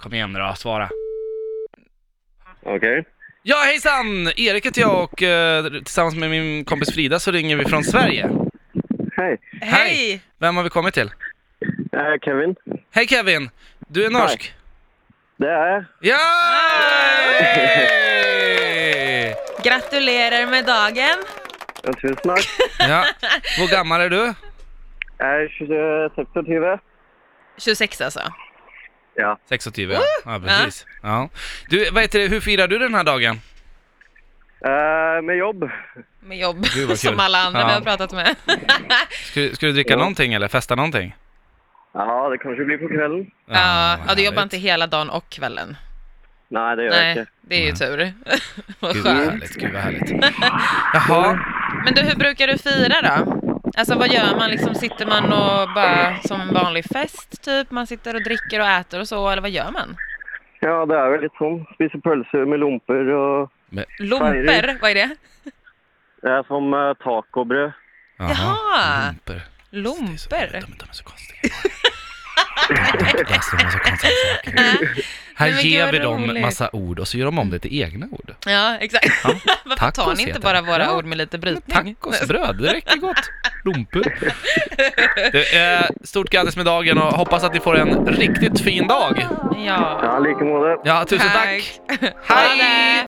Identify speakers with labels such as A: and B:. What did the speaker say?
A: Kom igen nu då, svara.
B: Okej.
A: Ja hejsan! Erik heter jag och eh, tillsammans med min kompis Frida så ringer vi från Sverige.
B: Hej.
A: Hej.
C: Hej!
A: Vem har vi kommit till?
B: Jag är Kevin.
A: Hej Kevin! Du är norsk?
B: Det är jag.
A: Ja!
C: Gratulerar med dagen!
B: Ja, Tusen tack.
A: ja. Hur gammal är du?
B: Jag är 26 och 20.
C: 26 alltså.
A: 26, ja. ja precis. Ja. Du, vad heter det, hur firar du den här dagen?
B: Eh, med jobb.
C: Med jobb,
A: Gud, vad kul.
C: som alla andra
A: Ja. Ah,
C: vi har pratat med.
A: Ska, ska du dricka
B: Ja.
A: någonting eller festa någonting?
B: Ja, det kanske blir på kvällen.
C: ja,
A: vad
C: ja, du jobbar
A: härligt.
C: inte hela dagen och kvällen.
B: Nej, det gör jag
C: Nej,
B: inte.
C: det är ju tur. Vad
A: Gud vad
C: skönt.
A: härligt, gud vad härligt. Jaha,
C: Men du, hur brukar du fira då? Alltså vad gör man? Liksom, sitter man och bara som en vanlig fest typ? Man sitter och dricker och äter och så, eller vad gör man?
B: Ja, det är väl lite sånn. Spise pølser med lomper och
C: Lomper, vad är det?
B: Det är som eh, tacobröd.
A: Jaha.
C: Jaha.
A: Lumper. De,
C: Lomper?
A: de, de är så konstiga. Alltså, de är så konstiga saker.
C: Nej,
A: Här
C: men
A: ger
C: gud,
A: vi
C: vad
A: dem
C: roligt.
A: massa ord och så gör de om det till egna ord.
C: Ja, exakt.
A: Ja,
C: Varför
A: tacos
C: tar ni inte
A: heter
C: bara
A: det.
C: våra
A: Ja,
C: ord med lite brytning?
A: Tacosbröd, det räcker gott. Lumper. Du, eh, stort grattis med dagen och hoppas att ni får en riktigt fin dag.
C: Ja.
B: Ja, like måte.
A: Ja, tusen tack.
C: Hej!